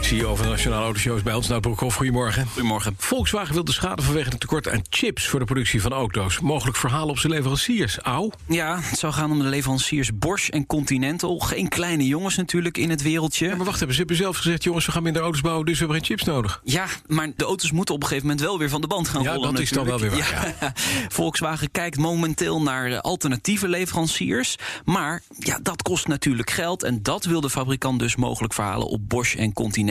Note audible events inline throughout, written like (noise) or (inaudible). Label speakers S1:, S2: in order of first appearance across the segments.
S1: CEO van de Nationale Autoshows bij ons, Nout Broekhoff. Goedemorgen.
S2: Goedemorgen.
S1: Volkswagen wil de schade vanwege het tekort aan chips voor de productie van auto's. Mogelijk verhalen op zijn leveranciers. Au.
S2: Ja, het zou gaan om de leveranciers Bosch en Continental. Geen kleine jongens natuurlijk in het wereldje.
S1: Ja, maar wacht even, ze hebben zelf gezegd... jongens, we gaan minder auto's bouwen, dus we hebben geen chips nodig.
S2: Ja, maar de auto's moeten op een gegeven moment wel weer van de band gaan
S1: Ja,
S2: rollen
S1: dat is dan
S2: natuurlijk.
S1: wel weer waar,
S2: (laughs) Volkswagen kijkt momenteel naar eh, alternatieve leveranciers. Maar ja, dat kost natuurlijk geld. En dat wil de fabrikant dus mogelijk verhalen op Bosch en Continental.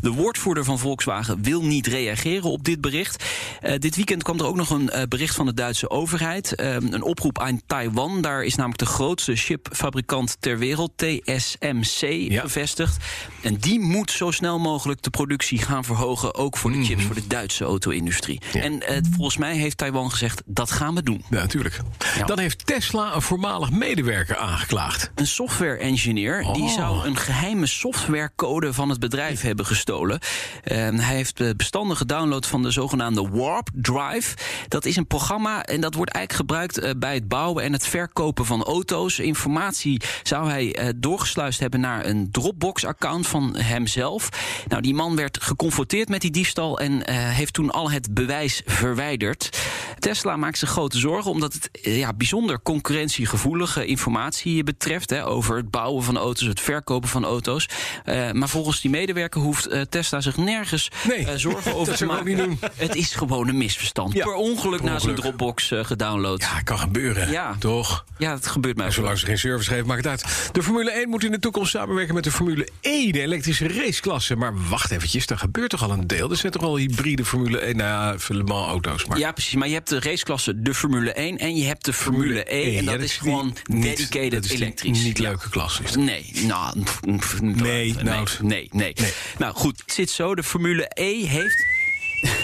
S2: De woordvoerder van Volkswagen wil niet reageren op dit bericht. Eh, dit weekend kwam er ook nog een eh, bericht van de Duitse overheid. Eh, een oproep aan Taiwan. Daar is namelijk de grootste chipfabrikant ter wereld, TSMC,
S1: Ja.
S2: gevestigd. En die moet zo snel mogelijk de productie gaan verhogen. Ook voor de chips voor de Duitse auto-industrie. En eh, volgens mij heeft Taiwan gezegd: dat gaan we doen.
S1: Ja, natuurlijk. Dan heeft Tesla een voormalig medewerker aangeklaagd.
S2: Een software-engineer die
S1: Oh.
S2: zou een geheime softwarecode van het bedrijf hebben gestolen. En hij heeft eh, bestanden gedownload van de zogenaamde Warp Drive. Dat is een programma en dat wordt eigenlijk gebruikt eh, bij het bouwen en het verkopen van auto's. Informatie zou hij eh, doorgesluist hebben naar een Dropbox-account van hemzelf. Nou, die man werd geconfronteerd met die diefstal en eh, heeft toen al het bewijs verwijderd. Tesla maakt zich grote zorgen omdat het eh, ja, bijzonder concurrentiegevoelige informatie betreft. Hè, over het bouwen van auto's, het verkopen van auto's. Eh, maar volgens die medewerker hoeft eh, Tesla zich nergens
S1: Nee,
S2: eh, zorgen over
S1: (laughs) dat
S2: te
S1: zou ik
S2: maken.
S1: ook niet doen.
S2: Het is gewoon een misverstand.
S1: Ja,
S2: per ongeluk
S1: per
S2: naar zijn
S1: ongeluk.
S2: Dropbox eh, gedownload. Ja.
S1: Ja, kan gebeuren.
S2: Ja.
S1: Toch?
S2: dat gebeurt mij ook.
S1: Zolang ze geen service geven, maakt het uit. De Formule 1 moet in de toekomst samenwerken met de Formule E, de elektrische raceklasse. Maar wacht eventjes, daar gebeurt toch al een deel? Er zijn toch al hybride Formule 1, nou ja, Le Mans auto's. Maar
S2: Ja, precies. Maar je hebt de raceklasse de Formule 1 en je hebt de Formule, E. En
S1: ja,
S2: dat, is,
S1: die
S2: gewoon
S1: niet-
S2: dedicated
S1: dat is die
S2: elektrisch.
S1: Niet leuke klasse. Is dat.
S2: Nee, nou, pff, pff,
S1: Nee,
S2: nee, nee,
S1: Nout.
S2: nee, Nou goed, het zit zo. De Formule E heeft. (laughs)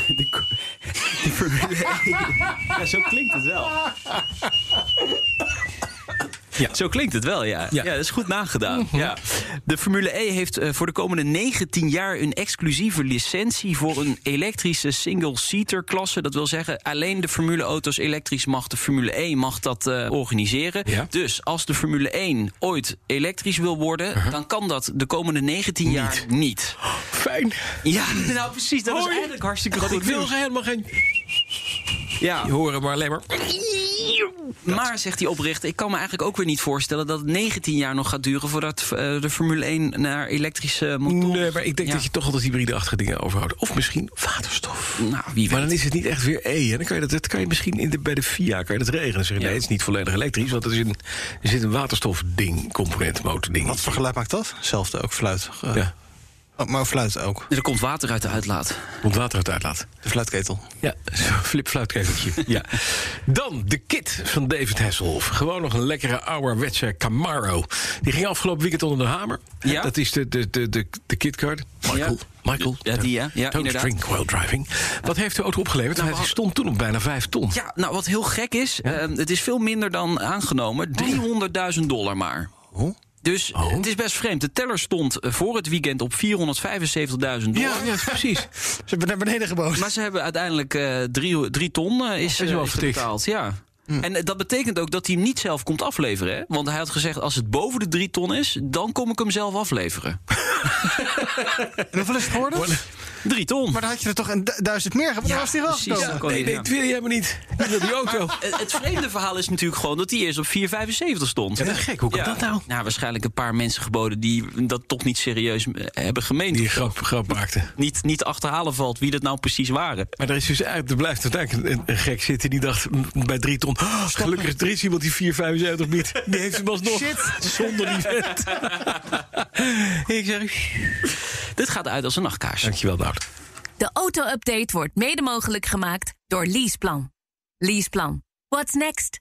S2: De, ko- de Formule E. Ja, zo klinkt het wel.
S1: Ja.
S2: Zo klinkt het wel, ja. Mhm.
S1: Ja.
S2: Ja, dat is goed nagedaan. ja. De Formule E heeft eh, voor de komende 19 jaar een exclusieve licentie voor een elektrische single-seater klasse. Dat wil zeggen, alleen de Formule auto's elektrisch mag de Formule E mag dat eh, organiseren.
S1: Ja.
S2: Dus als de Formule 1 ooit elektrisch wil worden,
S1: Uh-huh.
S2: dan kan dat de komende 19 jaar niet.
S1: Fijn.
S2: Ja, nou precies, dat is
S1: Hoi.
S2: eigenlijk hartstikke
S1: Want
S2: goed.
S1: ik wil
S2: nieuws.
S1: helemaal geen
S2: ja.
S1: horen, maar alleen maar...
S2: Maar, zegt die oprichter, ik kan me eigenlijk ook weer niet voorstellen dat het 19 jaar nog gaat duren voordat eh, de Formule 1 naar elektrische motoren.
S1: Nee, maar ik denk
S2: Ja.
S1: dat je toch altijd hybride-achtige dingen overhoudt. Of misschien waterstof.
S2: Nou, wie
S1: Maar
S2: weet.
S1: dan is het niet echt weer E. En dan kan je dat, dat kan je misschien in de, bij de FIA kan je dat regelen. Dan zeg je, nee, het is niet volledig elektrisch, want er zit een, er zit een waterstofding, component, motording.
S3: Wat voor geluid maakt dat? Zelfde ook, fluit. Eh,
S1: Ja,
S3: oh, maar fluit ook.
S2: Er komt water uit de uitlaat.
S1: komt water uit de uitlaat.
S3: De fluitketel.
S1: Ja, (laughs) zo'n
S2: (laughs)
S1: flipfluitketeltje. ja. Dan de kit van David Hasselhoff. Gewoon nog een lekkere ouderwetse Camaro. Die ging afgelopen weekend onder de hamer.
S2: Ja.
S1: Dat is de, de, de, de, de kitcard. Michael. Michael.
S2: Ja, die, hè? Ja,
S1: Don't
S2: inderdaad.
S1: drink while driving. Wat heeft de auto opgeleverd?
S2: Nou,
S1: Hij
S2: we-
S1: stond toen op bijna 5 ton.
S2: Ja, nou wat heel gek is, eh, het is veel minder dan aangenomen. 300.000 dollar maar. Dus eh, het is best vreemd. De teller stond eh, voor het weekend op 475.000 dollar.
S1: Ja, ja,
S2: (laughs)
S1: precies.
S3: Ze hebben naar beneden geboden.
S2: Maar ze hebben uiteindelijk eh, drie, drie ton eh, is,
S1: is
S2: eh,
S1: wel
S2: is er
S1: vertikt.
S2: betaald. Ja. En eh, dat betekent ook dat hij hem niet zelf komt afleveren. Hè? Want hij had gezegd, als het boven de drie ton is... dan kom ik hem zelf afleveren.
S3: En hoeveel is het geworden?
S2: Drie ton.
S3: Maar dan had je er toch een du- duizend meer gehad. Ja, was die wel
S2: precies.
S3: gekomen.
S2: Ja. kon
S1: Nee,
S2: je-
S1: nee, dat wil je helemaal niet. Je wil die auto.
S2: Eh, Het vreemde verhaal is natuurlijk gewoon dat hij eerst op 4,75 stond.
S1: Ja, dat is gek. Hoe kan dat nou?
S2: Nou, waarschijnlijk een paar mensen geboden die dat toch niet serieus eh, hebben gemeend.
S1: Die grap, grap maakte.
S2: Niet, niet achterhalen valt wie dat nou precies waren.
S1: Maar er, is dus, eigenlijk- er blijft uiteindelijk een, een gek zitten die dacht mm, bij drie ton. "Oh, gelukkig is er is iemand die 4,75 biedt. Die heeft hem alsnog.
S3: Shit.
S1: Zonder die vent. ik zeg.
S2: Dit gaat uit als een nachtkaars.
S1: Dankjewel, Nout.
S4: De auto-update wordt mede mogelijk gemaakt door Leaseplan. Leaseplan. What's next?